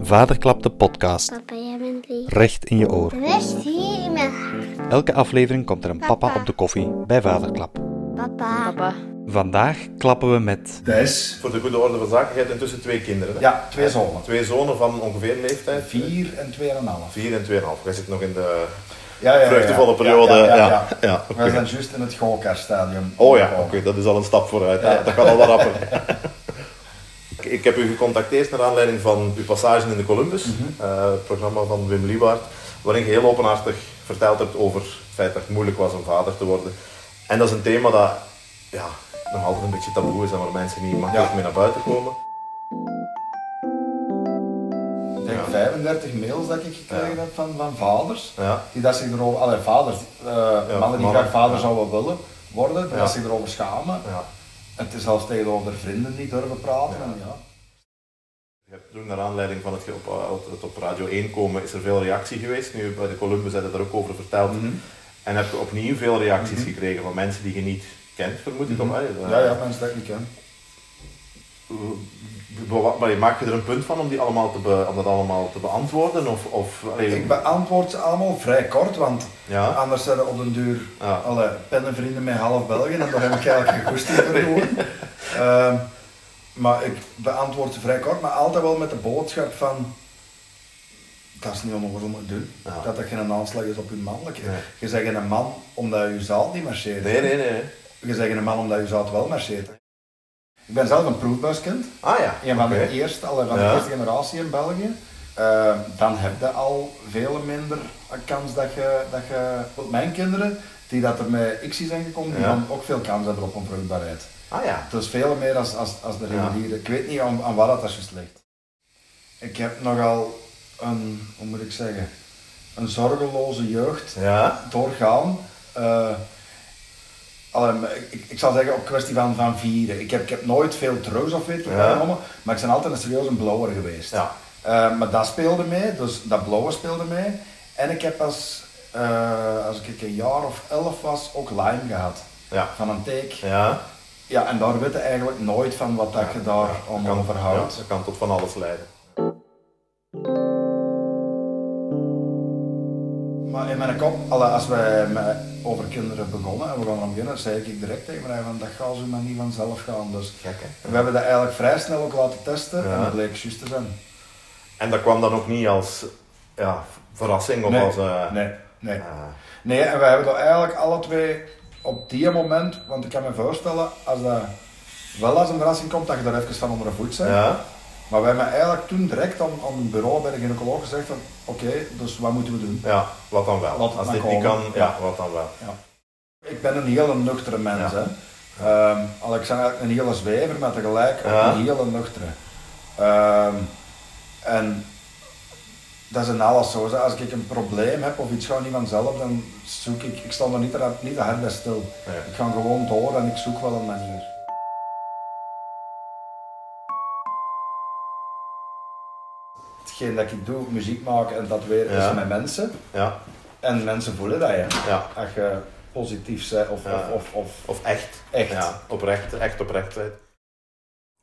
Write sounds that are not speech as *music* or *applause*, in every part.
Vaderklap de podcast. Papa, jij bent lief. Recht in je oor. Rust hier in mijn hart. Elke aflevering komt er een papa Papa. op de koffie bij Vaderklap. Papa. Vandaag klappen we met Thijs. Voor de goede orde van zaken, jij hebt intussen twee kinderen. Hè? Ja, twee zonen. Twee zonen van ongeveer leeftijd? Vier en tweeënhalf. Vier en tweeënhalf. Jij zit nog in de Ja, ja, ja, ja. vreugdevolle periode. Ja, ja, ja, ja. Ja, oké. We zijn juist in het goalkarstadium. Oh ja, oké, dat is al een stap vooruit. hè. Dat kan al wat rapper. Ik- Ik heb u gecontacteerd naar aanleiding van uw passage in de Columbus, Mhm. eh, het programma van Wim Liebaert, waarin je heel openhartig verteld hebt over het feit dat het moeilijk was om vader te worden. En dat is een thema dat ja, nog altijd een beetje taboe is en waar mensen niet makkelijk Ja. mee naar buiten komen. Ik denk 35 mails dat ik gekregen Ja. heb van, van vaders. Ja. Die dat zich erover, allee, vaders, eh, mannen die mannen, graag vader ja. zouden willen worden, die Ja. dat zich erover schamen. Ja. En het is zelfs tegenover vrienden die durven praten. Ja. En, ja. Je hebt toen naar aanleiding van het, ge- op, eh, het op Radio 1 komen, is er veel reactie geweest. Nu bij de Columbus heb je daar ook over verteld. Mhm. En heb je opnieuw veel reacties gekregen van mensen die je niet kent, vermoed ik. om, eh, Mhm. ja, ja, mensen dat ik niet ken. eh, bewa- Maar je maakt je er een punt van om, die allemaal te be- om dat allemaal te beantwoorden? Of, of, allee, Ik beantwoord ze allemaal vrij kort, want Ja. anders zijn er op den duur Ja. alle pennenvrienden met half België en daar heb ik eigenlijk geen goesting voor gewoon. Ehm, maar ik beantwoord ze vrij kort, maar altijd wel met de boodschap van dat is niet om om te doen. Ja. Dat dat geen aanslag is op je mannelijkheid. Nee. Je zegt een man omdat je zaal niet marcheert. Nee, nee, nee. Je zegt een man omdat je zaal wel marcheert. Ik ben zelf een proefbuiskind. Ah ja, Een van oké. de eerste, allee, van de Ja. eerste generatie in België. Eh, dan heb je al veel minder kans dat je, dat je want mijn kinderen, die dat er met XI zijn gekomen, die Ja. dan ook veel kans hebben op een vruchtbaarheid. Ah ja. Het is veel meer als, als, als de Ja. reguliere. Ik weet niet aan, aan wat dat juist ligt. Ik heb nogal een, hoe moet ik zeggen, een zorgeloze jeugd Ja, doorgaan. Eh, allee, maar ik- ik, ik zal zeggen op kwestie van, van vieren. Ik heb, ik heb nooit veel drugs of weet ik Ja. genomen, maar ik ben altijd een serieuze blower geweest. Ja. Eh, maar dat speelde mee, dus dat blowen speelde mee. En ik heb als, eh, als ik een jaar of elf was ook Lyme gehad. Ja. Van een teek. Ja. ja. en daar weet je eigenlijk nooit van wat dat je daar allemaal over ja, houdt. dat kan tot van alles leiden. Maar in mijn kop, alle, als wij met, over kinderen begonnen en we gaan om beginnen, zei ik direct tegen mij van dat gaat zo maar niet vanzelf gaan. Dus Gek, hè? we hebben dat eigenlijk vrij snel ook laten testen Ja. en dat bleek juist te zijn. En dat kwam dan ook niet als ja, verrassing of als... eh, nee, nee. eh, Nee, en we hebben dat eigenlijk alle twee op die moment, want ik kan me voorstellen, als dat wel als een verrassing komt, dat je daar even van onder de voet bent. ja. Maar we hebben eigenlijk toen direct aan, aan het bureau bij de gynaecoloog gezegd van oké, dus wat moeten we doen? Ja, wat dan wel. Laat het Als maar dit niet kan, komen. ja, Ja. wat dan wel. Ik ben een hele nuchtere mens. Ja. Hè. Ehm, al ik ben eigenlijk een hele zwever, maar tegelijk ook Ja. een hele nuchtere. Ehm, en dat is in alles zo. hè. Als ik een probleem heb of iets gaat niet vanzelf, dan zoek ik, ik sta er niet, te ra- niet te hard bij stil. Nee. Ik ga gewoon door en ik zoek wel een manier. Hetgeen dat ik doe, muziek maken en dat weer Ja. is met mensen. Ja, En mensen voelen dat, hè ja. als je eh, positief bent of, Ja. of, of, of Of echt. echt. Ja, oprecht, echt oprecht. hè.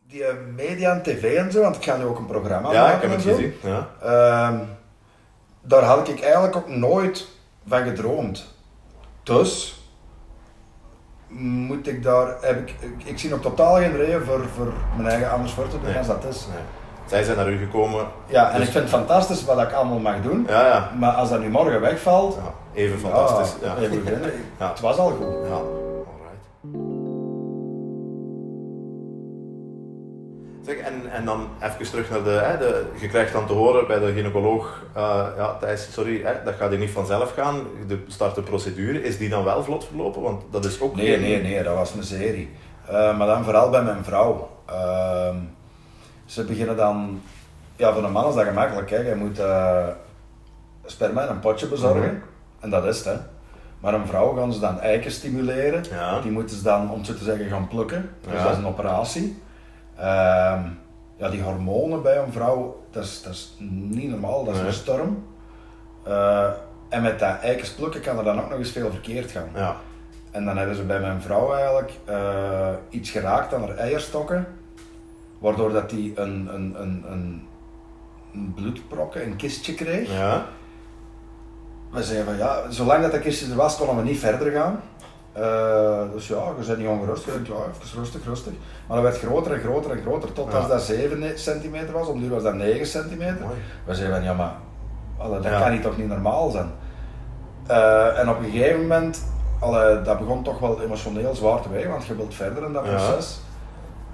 Die eh, media en tv en zo, want ik ga nu ook een programma Ja, maken ik heb en het Ah, zo. gezien. Ja. Ehm, daar had ik eigenlijk ook nooit van gedroomd. Dus moet ik daar, heb ik, ik, ik zie nog totaal geen reden voor, voor mijn eigen anders voor te doen Nee. als dat is. Nee. Zij zijn naar u gekomen. Ja, en Dus- ik vind het fantastisch wat ik allemaal mag doen, Ja, ja. maar als dat nu morgen wegvalt, ah, ja. Even fantastisch. Ja, ja, ja. even beginnen. *laughs* Ja. het was al goed. alright. Zeg, en, en dan even terug naar de, hè, de... Je krijgt dan te horen bij de gynaecoloog... eh, ja, Thijs, sorry, hè, dat gaat hier niet vanzelf gaan. De start de procedure. Is die dan wel vlot verlopen? Want dat is ook... Nee, nee, nee, dat was miserie. Eh maar dan vooral bij mijn vrouw. Ehm, ze beginnen dan... Ja, voor een man is dat gemakkelijk. Hè. Je moet eh, sperma in een potje bezorgen. Mhm. En dat is het. Hè. Maar een vrouw gaan ze dan eiken stimuleren. Ja. Die moeten ze dan, om zo te zeggen, gaan plukken. Dus Ja. dat is een operatie. Ehm, ja, die hormonen bij een vrouw, dat is, dat is niet normaal. Dat is Nee. een storm. Eh, en met dat eikens plukken kan er dan ook nog eens veel verkeerd gaan. Ja, En dan hebben ze bij mijn vrouw eigenlijk eh, iets geraakt aan haar eierstokken, waardoor dat die een, een, een, een een bloedprokken, een kistje kreeg. Ja. We zeiden van ja, zolang dat dat kistje er was, konden we niet verder gaan. Eh, dus ja, je bent niet ongerust. Je denkt, ja, even rustig, rustig. Maar dat werd groter en groter en groter, tot Ja. als dat 7 centimeter was, om duur was dat 9 centimeter. Mooi. We zeiden van ja, maar allee, dat Ja. kan niet toch niet normaal zijn. Eh, en op een gegeven moment, allee, dat begon toch wel emotioneel zwaar te wegen, want je wilt verder in dat Ja. proces.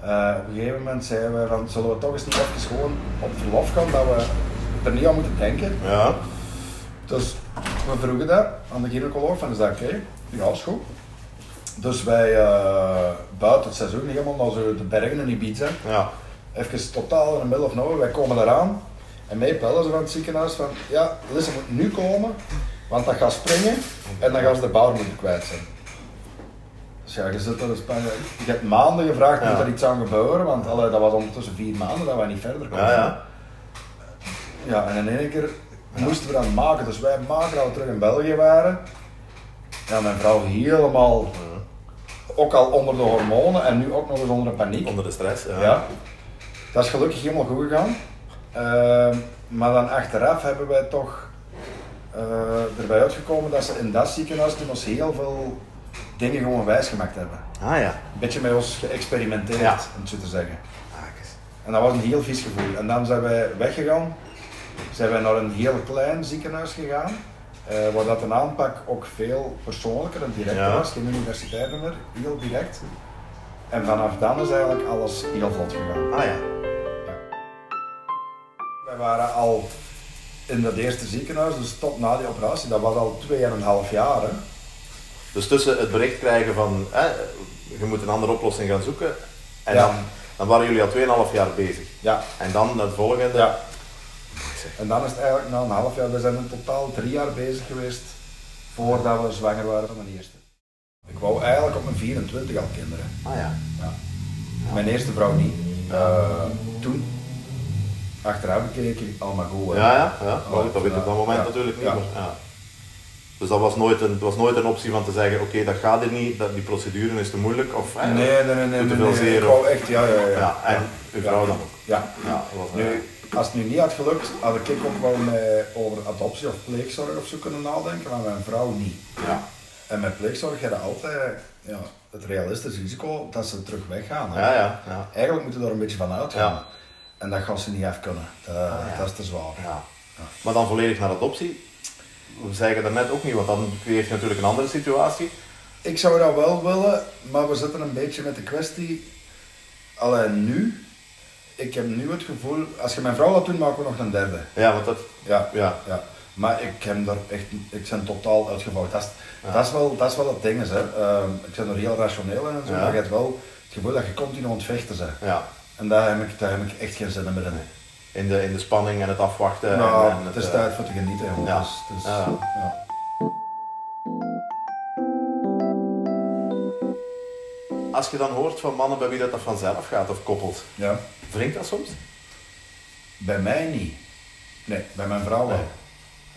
Eh, op een gegeven moment zeiden we van, zullen we toch eens niet even gewoon op verlof gaan, dat we er niet aan moeten denken. Ja. Dus we vroegen dat aan de gynaecoloog, van is dat oké? Ja, is goed. Dus wij eh, buiten het seizoen, helemaal naar zo de bergen in Ibiza, Ja. even totaal in de middel of nowhere, wij komen eraan. En mij bellen ze van het ziekenhuis van, ja, Lisse moet nu komen, want dat gaat springen en dan gaan ze de baarmoeder kwijt zijn. Dus ja, je zit er dus bijna- ik heb maanden gevraagd, Ja. moet er iets aan gebeuren, want allee, dat was ondertussen vier maanden dat wij niet verder konden. Ja, ja. Ja, en in één keer moesten we dat maken. Dus wij maken dat we terug in België waren. Ja, mijn vrouw helemaal, ook al onder de hormonen en nu ook nog eens onder de paniek. Onder de stress. Ja. Ja. Dat is gelukkig helemaal goed gegaan. Ehm, maar dan achteraf hebben wij toch eh, erbij uitgekomen dat ze in dat ziekenhuis toen ons heel veel dingen gewoon wijsgemaakt hebben. Ah ja. Een beetje met ons geëxperimenteerd, Ja. om het zo te zeggen. Haakjes. En dat was een heel vies gevoel. En dan zijn wij weggegaan, zijn wij naar een heel klein ziekenhuis gegaan, eh, waar dat een aanpak ook veel persoonlijker en directer Ja. was, geen universiteiten meer, heel direct. En vanaf dan is eigenlijk alles heel vlot gegaan. Ah ja. Wij waren al in dat eerste ziekenhuis, dus tot na die operatie, dat was al 2,5 jaar. Hè. Dus tussen het bericht krijgen van hè, je moet een andere oplossing gaan zoeken. En Ja. dan, dan waren jullie al 2,5 jaar bezig. Ja. En dan het volgende. ja. En dan is het eigenlijk na een half jaar, we zijn in totaal drie jaar bezig geweest voordat we zwanger waren van mijn eerste. Ik wou eigenlijk op mijn 24 al kinderen. Ah ja. Ja. Mijn eerste vrouw niet. Eh, toen, achteraf bekeken, allemaal goed. hè. Ja, ja. ja. Maar goed, dat weet je Ja. op dat moment Ja. natuurlijk niet. Ja. maar, ja. Dus dat was nooit, een, het was nooit een optie van te zeggen, oké, dat gaat er niet, dat, die procedure is te moeilijk. Of, hè, Nee, nee, nee, nee. Doe te nee, veel nee, zeer, Ik of- wou echt, ja, ja, ja. Ja, en uw vrouw dan ook. Ja. Ja, dat was, Nu, als het nu niet had gelukt, had ik ook wel met- over adoptie of pleegzorg of zo kunnen nadenken, maar mijn vrouw niet. ja. En met pleegzorg heb je altijd ja, het realistische risico dat ze terug weggaan. hè. Ja, ja, ja. Eigenlijk moeten we daar een beetje van uitgaan. Ja. Oh, En dat gaan ze niet af kunnen. Dat, dat is te zwaar. ja. Maar dan volledig naar adoptie. We zeggen dat net ook niet, want dan creëert je natuurlijk een andere situatie. Ik zou dat wel willen, maar we zitten een beetje met de kwestie. Alleen nu, ik heb nu het gevoel, als je mijn vrouw laat doen, maken we nog een derde. Ja, want dat... Ja, Ja. ja. Maar ik heb daar echt, ik ben totaal uitgevouwd. Dat is, dat is, wel, dat is wel het ding, is, hè. Ehm, ik ben er heel rationeel in en zo, Ja. maar je hebt wel het gevoel dat je continu aan het vechten bent. Ja. En daar heb, ik, daar heb ik echt geen zin meer in. In de, in de spanning en het afwachten. Nou, en, en het is eh, tijd voor te genieten, jongen. ja. Dus, dus, Ja. ja. Als je dan hoort van mannen bij wie dat, dat vanzelf gaat of koppelt, Ja. wringt dat soms? Bij mij niet. Nee, bij mijn vrouw wel. Nee.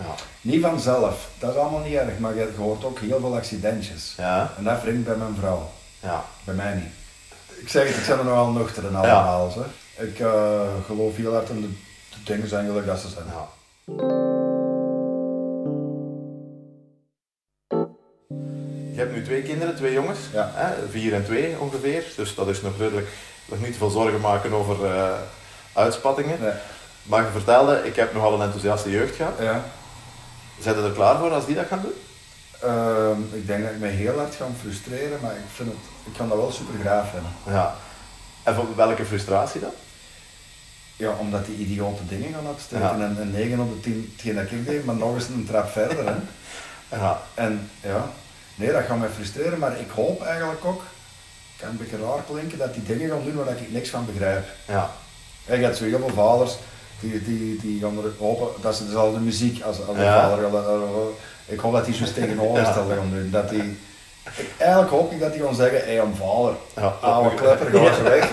Ja. Niet vanzelf, dat is allemaal niet erg, maar je hoort ook heel veel accidentjes. Ja. En dat wringt bij mijn vrouw, Ja. bij mij niet. Ik zeg het, ik ben er nogal nuchter in allemaal. zeg. Ik eh, geloof heel hard in de, de dingen zijn gelukkig dat ze zijn. ja. Je hebt nu twee kinderen, twee jongens, Ja. hè? vier en twee ongeveer. Dus dat is nog duidelijk, nog niet veel zorgen maken over eh, uitspattingen. Nee. Maar je vertelde, ik heb nogal een enthousiaste jeugd gehad. Ja. Zijn ze er klaar voor als die dat gaan doen? Ehm, ik denk dat ik me heel hard ga frustreren, maar ik, vind het, ik kan dat wel super graag vinden. Ja. En voor welke frustratie dan? Ja, omdat die idiote dingen gaan uitsteken. Ja. En, en 9 op de 10, hetgeen dat ik deed, maar nog eens een trap verder. *laughs* Hè. Ja. En ja, nee, dat gaat mij frustreren, maar ik hoop eigenlijk ook, het kan een beetje raar klinken, dat die dingen gaan doen waar ik niks van begrijp. Ja. En je hebt zo heel veel vaders die, die, die gaan er hopen dat ze dezelfde muziek als, als de Ja. vader gaan. luisteren. eh. Ik hoop dat die zo tegenovergesteld *laughs* gaan doen. Dat die, ik- eigenlijk hoop ik dat die gaan zeggen, hé, hey, een vader, Ja. oude klepper, ga eens weg.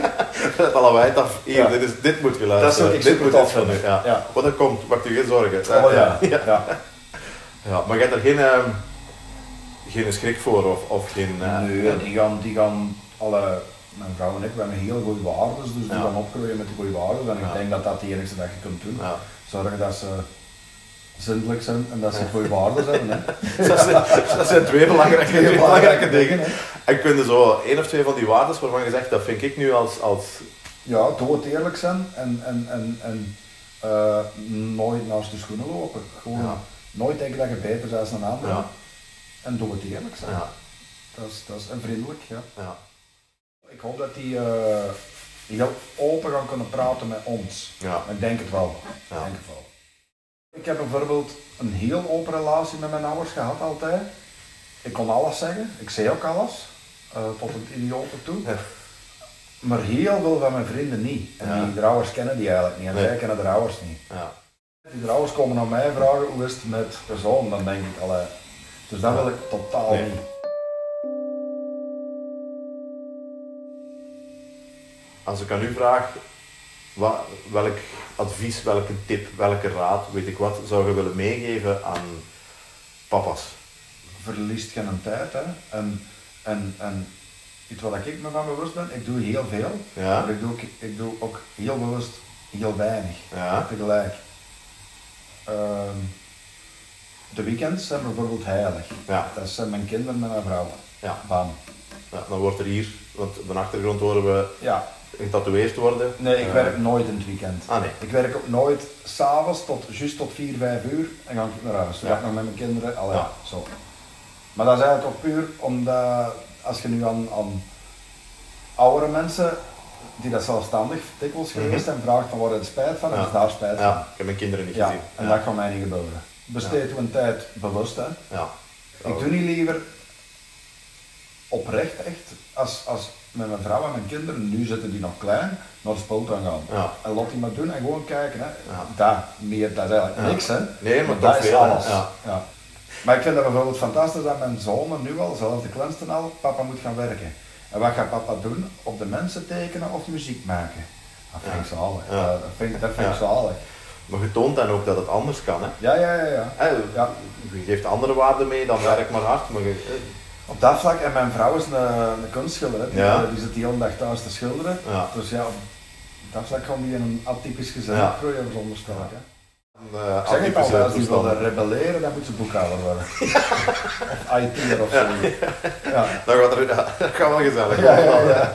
Het lawaai af. Hier, Ja. dit, is, dit moet Dat is geluisterd ook worden. iets Dit super moet tof dit van vinden. u. Ja. Ja. Want dat komt, maak je geen zorgen. Oh ja, ja. ja. Ja, maar je hebt er geen, ehm, geen schrik voor of, of geen... eh, Nee, die gaan, die gaan alle Mijn vrouw en ik, we hebben heel goede waarden, dus Ja. die gaan opgroeien met die goede waarden. En ik Ja. denk dat dat de enige dat je kunt doen. Ja. Zorgen dat ze zindelijk zijn en dat ze goede waarden hebben. *laughs* Hè. *laughs* Dat zijn, dat zijn twee *laughs* belangrijke, Twee twee belangrijke belangrijke dingen. En kun je zo één of twee van die waardes waarvan je zegt, dat vind ik nu als, als Ja, dood eerlijk zijn en, en, en, en eh, nooit naast de schoenen lopen. Gewoon Ja. nooit denken dat je beter bent dan anderen. Ja. En dood eerlijk zijn. ja, Dat, is, dat is en vriendelijk, ja. ja, Ik hoop dat die eh, heel open gaan kunnen praten met ons. ja, Ik denk het wel. Ja. Ik denk het wel. Ik heb bijvoorbeeld een heel open relatie met mijn ouders gehad altijd. Ik kon alles zeggen. Ik zei ook alles. eh, tot het idioten toe. Ja. Maar heel veel van mijn vrienden niet. En Ja. die trouwers kennen die eigenlijk niet. En Nee. zij kennen de trouwers niet. ja. Die trouwens komen aan mij vragen hoe is het met de zoon. Dan denk ik al. Dus dat wil ik totaal Nee. niet. Als ik aan u vraag, wa- welk advies, welke tip, welke raad, weet ik wat, zou je willen meegeven aan papa's? verliest geen tijd. Hè. En, en, en iets wat ik me van bewust ben, ik doe heel veel, Ja. maar ik doe, ook, ik doe ook heel bewust heel weinig Ja, tegelijk. Ehm, de weekends zijn bijvoorbeeld heilig. Ja. Dat zijn mijn kinderen en mijn vrouw. ja. Bam. ja dan wordt er hier, want op de achtergrond horen we Ja. getatoeëerd worden. Nee, ik Eh, werk nooit in het weekend. Ah nee, Ik werk ook nooit s'avonds tot juist tot 4, 5 uur en ga ik naar huis. Dan Ja. ga ik nog met mijn kinderen. Al ja. Ja. zo. Maar dat is eigenlijk ook puur omdat als je nu aan, aan oudere mensen die dat zelfstandig dikwijls geweest zijn, vraagt van waar heb je spijt van, Mhm. Ja. dan is daar spijt van. ja, ik heb mijn kinderen niet Ja, gezien. en ja. dat kan mij niet gebeuren. Besteed uw tijd bewust hè. ja. Oh. Ik doe niet liever oprecht echt, als, als met mijn vrouw en mijn kinderen, nu zitten die nog klein, naar de speeltuin gaan. Ja. En laat die maar doen en gewoon kijken. Hè. Ja. Daar, meer, dat is eigenlijk Ja. niks hè. Nee, maar dat toch is veel, hè. alles. Ja. Ja. Maar ik vind dat bijvoorbeeld fantastisch dat mijn zonen nu al, zelfs de kleinste al, papa moet gaan werken. En wat gaat papa doen? Op de mensen tekenen of muziek maken? Dat vind ik zalig. Ja. Dat vind, ik- dat vind ik Ja. zalig. Maar je toont dan ook dat het anders kan. Hè? Ja, ja, ja, ja. Eh, Ja. Je geeft andere waarden mee dan werk maar hard. Maar je, eh, Op dat vlak, en mijn vrouw is een, een kunstschilder, hè. die, eh, Ja. die zit die hele dag thuis te schilderen. eh, ja. Dus ja, op dat vlak gaan die in een atypisch gezin Ja. groeien, veronderstel ik. Hè. Eh, Ik zeg het al, atypische als die toestanden. willen rebelleren, dan moet ze boekhouder *laughs* worden. of IT'er of zo. Ja. Dan gaat er, *laughs* ja, dat gaat wel gezellig Ja, ja, worden. ja.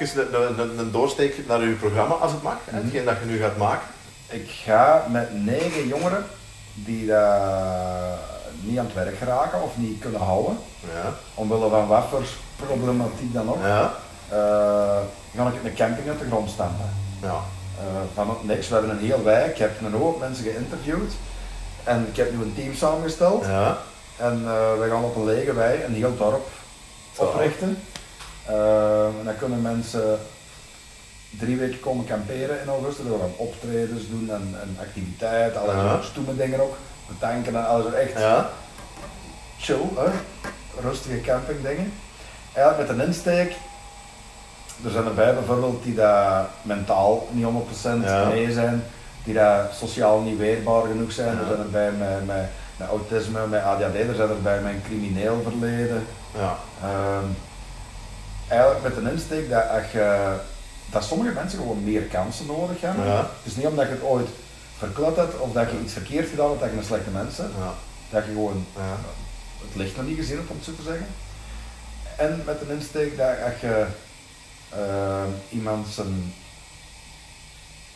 Even een, een- een, een doorsteek naar uw programma als het mag. hè, Mhm. Hetgeen dat je nu gaat maken. Ik ga met negen jongeren die eh, niet aan het werk geraken of niet kunnen houden, Ja. omwille van wat voor problematiek dan ook, Ja. eh, ga ik een camping uit de grond stampen. Ja. Eh, van het niks. We hebben een heel wijk. Ik heb een hoop mensen geïnterviewd. En ik heb nu een team samengesteld. Ja. En eh, we gaan op een lege wei een heel dorp Zo. oprichten. Eh, en dan kunnen mensen drie weken komen kamperen in augustus. We gaan optredens doen en, en activiteiten. Alle Ja. stoeme dingen ook. We tanken en alles. Echt Ja. chill, hè? rustige campingdingen. Eigenlijk met een insteek. Er zijn erbij bijvoorbeeld die daar mentaal niet 100% Ja. mee zijn, die daar sociaal niet weerbaar genoeg zijn. Ja. Er zijn erbij met, met, met autisme, met ADHD, er zijn erbij met een crimineel verleden. Ja. Ehm, eigenlijk met een insteek dat, als je- dat sommige mensen gewoon meer kansen nodig hebben. Ja. Het is niet omdat je het ooit verklut hebt of dat je iets verkeerd gedaan hebt, dat je een slechte mens bent. Ja. Dat je gewoon Ja. Eh, het licht nog niet gezien hebt, om het zo te zeggen. En met een insteek dat als je ehm, iemand zijn,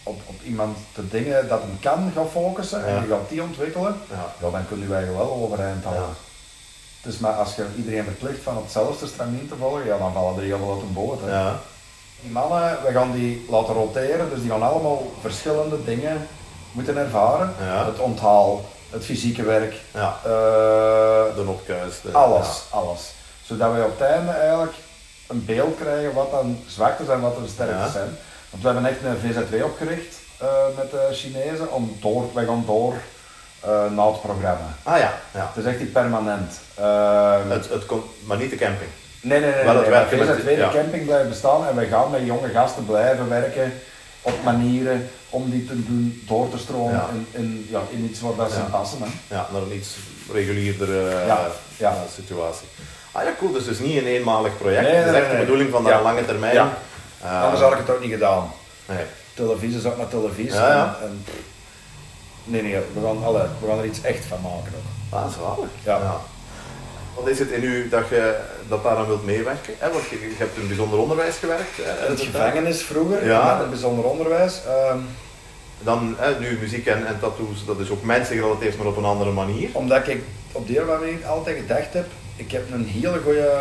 op, op iemand de dingen dat hem kan gaat focussen Ja. en je gaat die ontwikkelen, Ja. ja, dan kun je eigenlijk wel overeind houden. Ja. Dus maar als je iedereen verplicht van hetzelfde stramien te volgen, ja, dan vallen er heel veel uit een boot. hè. Ja. Die mannen, we gaan die laten roteren, dus die gaan allemaal verschillende dingen moeten ervaren. Ja. Het onthaal, het fysieke werk, Ja. eh, De nopkuis. de- alles, alles. Zodat wij op het einde eigenlijk een beeld krijgen wat dan zwaktes en wat dan sterktes Ja. zijn. Want we hebben echt een VZW opgericht eh, met de Chinezen om door, wij gaan door eh na het programma. Ja. Ah ja. ja. Het is echt niet permanent. Ehm, Het, het komt, maar niet de camping. nee, nee, nee. wel nee, het nee, werken maar met- VZW, de ja. camping blijft bestaan en wij gaan met jonge gasten blijven werken op manieren om die te doen door te stromen Ja. in, in, ja, in iets waar dat ze Ja. passen. Hè. Ja, naar een iets regulierdere eh, Ja, ja. eh, situatie. Ah, Ah ja, cool, dat is dus niet een eenmalig project. Nee, dat nee, is echt nee. de bedoeling van de Ja. lange termijn. Ja. Eh, Anders had ik het ook niet gedaan. nee. Televisie zat naar televisie. Ja, ja. En, en- nee, nee, we gaan, alle, we gaan er iets echt van maken ook. Ah, dat is waarlijk. Ja. Wat is het in u dat je dat daaraan wilt meewerken? hè? Want je, je hebt in bijzonder onderwijs gewerkt. hè, In het dat- gevangenis vroeger, Ja. ja. het bijzonder onderwijs. ehm, Dan hè, nu muziek en, en tattoos, dat is ook mensen gerelateerd, maar op een andere manier. Omdat ik op de een of andere manier altijd gedacht heb, ik heb een hele goede,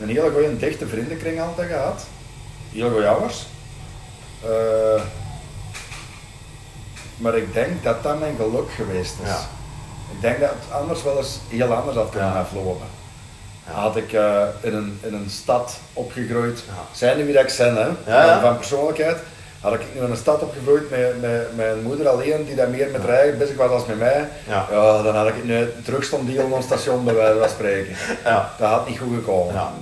een hele goede dichte vriendenkring altijd gehad. Heel goeie ouders. Eh, maar ik denk dat dat mijn geluk geweest is. Ja. Ik denk dat het anders wel eens heel anders had kunnen Ja. aflopen. Ja. Had ik eh, in, een, in een stad opgegroeid, Ja. zijnde wie dat ik ben, hè, Ja, ja. van- van persoonlijkheid, had ik in een stad opgegroeid met, met, met een moeder alleen die daar meer met rijden bezig was dan met mij. Ja. dan had ik het nu terug stond die op ons station bij wijze van spreken. Ja. Dat had niet goed gekomen. ja.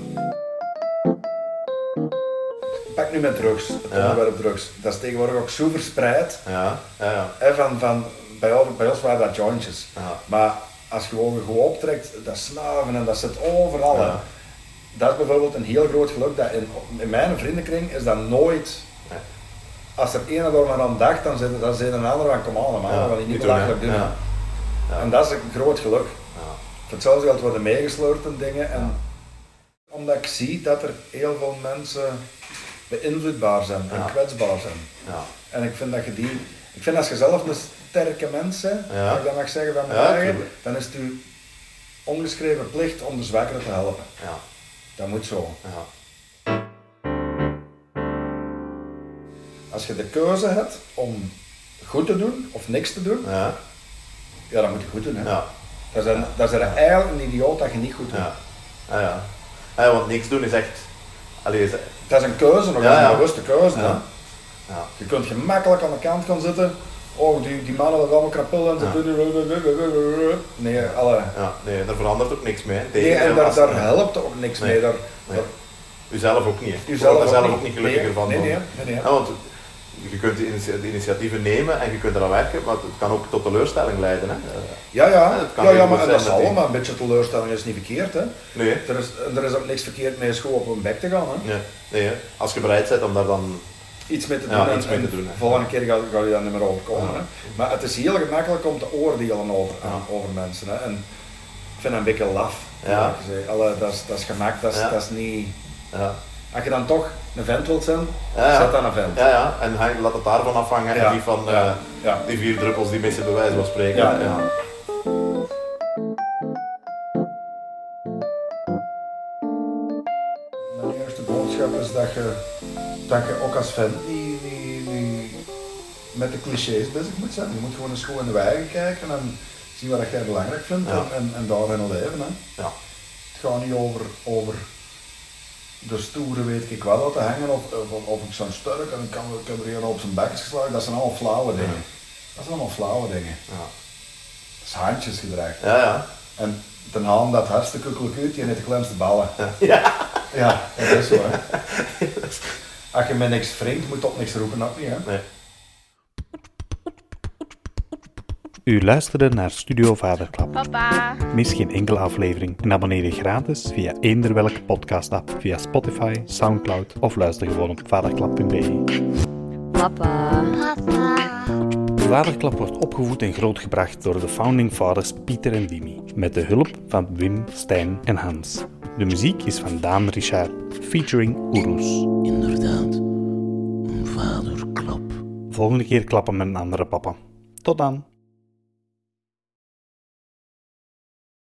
Ik pak nu met drugs, het Ja. onderwerp drugs. Dat is tegenwoordig ook zo verspreid. Ja, ja, ja. Hè, van, van, bij, ons, bij ons waren dat jointjes. Ja. Maar als je gewoon goed optrekt, dat snaven en dat zit overal. hè. Ja. Dat is bijvoorbeeld een heel groot geluk. Dat in, in mijn vriendenkring is dat nooit. Nee. Als er één door maar aan dacht, dan zit, dan zit een ander van kom aan, man, Ja, dat wil je niet niet doen, hè. belachelijk doen. Ja. Ja. En dat is een groot geluk. Ja. Voor hetzelfde geld worden meegesleurd en dingen. En Omdat ik zie dat er heel veel mensen beïnvloedbaar zijn en Ja. kwetsbaar zijn. Ja. En ik vind dat je die, ik vind als je zelf een sterke mens bent, Ja. als ik dat mag zeggen van mijn Ja, eigen, tuurlijk. dan is het uw ongeschreven plicht om de zwakkeren te helpen. Ja. Dat moet zo. Ja. Als je de keuze hebt om goed te doen of niks te doen, Ja. ja, dan moet je goed doen. Hè. Ja. Dat is, een, dat is een eigenlijk een idioot dat je niet goed doet. Ja. Ja. ja. Ja, want niks doen is echt... Allee, is... Dat is een keuze, nog Ja, een ja. bewuste keuze. Ja. hè. Ja. Je kunt gemakkelijk aan de kant gaan zitten. Oh, die, die mannen hebben allemaal krapul en ze Ja. doen... Nee, alle... Ja. Nee, daar verandert ook niks mee. hè. Nee, en Tegendeel, daar, als- daar helpt ook niks Nee. mee. Daar, Nee. daar- Uzelf ook niet. hè. Je Jezelf wordt daar zelf niet. ook niet gelukkiger nee, van. Nee, dan- nee, nee, nee. Ja, want je kunt de initi- de initiatieven nemen en je kunt eraan werken, maar het kan ook tot teleurstelling leiden. Hè? Eh, Ja, ja, dat kan ja, heel ja goed maar en zijn dat is dat die- allemaal een beetje teleurstelling, is niet verkeerd. Hè. Nee, hè? Er, is, er is ook niks verkeerd mee school op hun bek te gaan. Hè. nee, nee. hè. Als je bereid bent om daar dan... Iets mee te doen Ja, en, iets mee te en doen, hè. volgende keer ga, ga je daar niet meer over komen. Ja. Hè. Maar het is heel gemakkelijk om te oordelen over, aan- over mensen. Hè. En ik vind dat een beetje laf. Ja. eerlijk gezegd. Allee, dat, is, dat is gemak, dat is, Ja. dat is niet... Ja, Als je dan toch een vent wilt zijn, Ja, ja. zet dan een vent. ja, ja. en hang- laat het daarvan afhangen Ja. en niet van Ja. eh, Ja. die vier druppels die missen bij wijze van spreken. Ja. Ja. Mijn eerste boodschap is dat je, dat je ook als fan niet, niet, niet met de clichés bezig moet zijn. Je moet gewoon eens goed in de eigen kijken en zien wat jij belangrijk vindt Ja. en, en, en daarin leven. Hè. Ja. Het gaat niet over, over de stoere weet ik wel laten hangen of, of, of ik zo'n sterk en ik, kan, ik heb er hier op zijn bek geslagen. Dat zijn allemaal flauwe dingen. Dat zijn allemaal flauwe dingen. Ja. Dat is handjesgedrag. Ja, ja. *laughs* En ten haan dat hartstikke klokuut, die heeft de kleinste ballen. Ja, dat is zo. Hè. Als je met niks wringt, moet je op niks roepen, ook niet. Hè? Nee. U luisterde naar Studio Vaderklap. Papa. Mis geen enkele aflevering en abonneer je gratis via eender welke podcast-app, via Spotify, Soundcloud of luister gewoon op vaderklap.be. Papa. Papa. Vaderklap wordt opgevoed en grootgebracht door de founding fathers Pieter en Dimi, met de hulp van Wim, Stijn en Hans. De muziek is van Daan Richard, featuring Oeroes. Inderdaad, een vaderklap. Volgende keer klappen met een andere papa. Tot dan!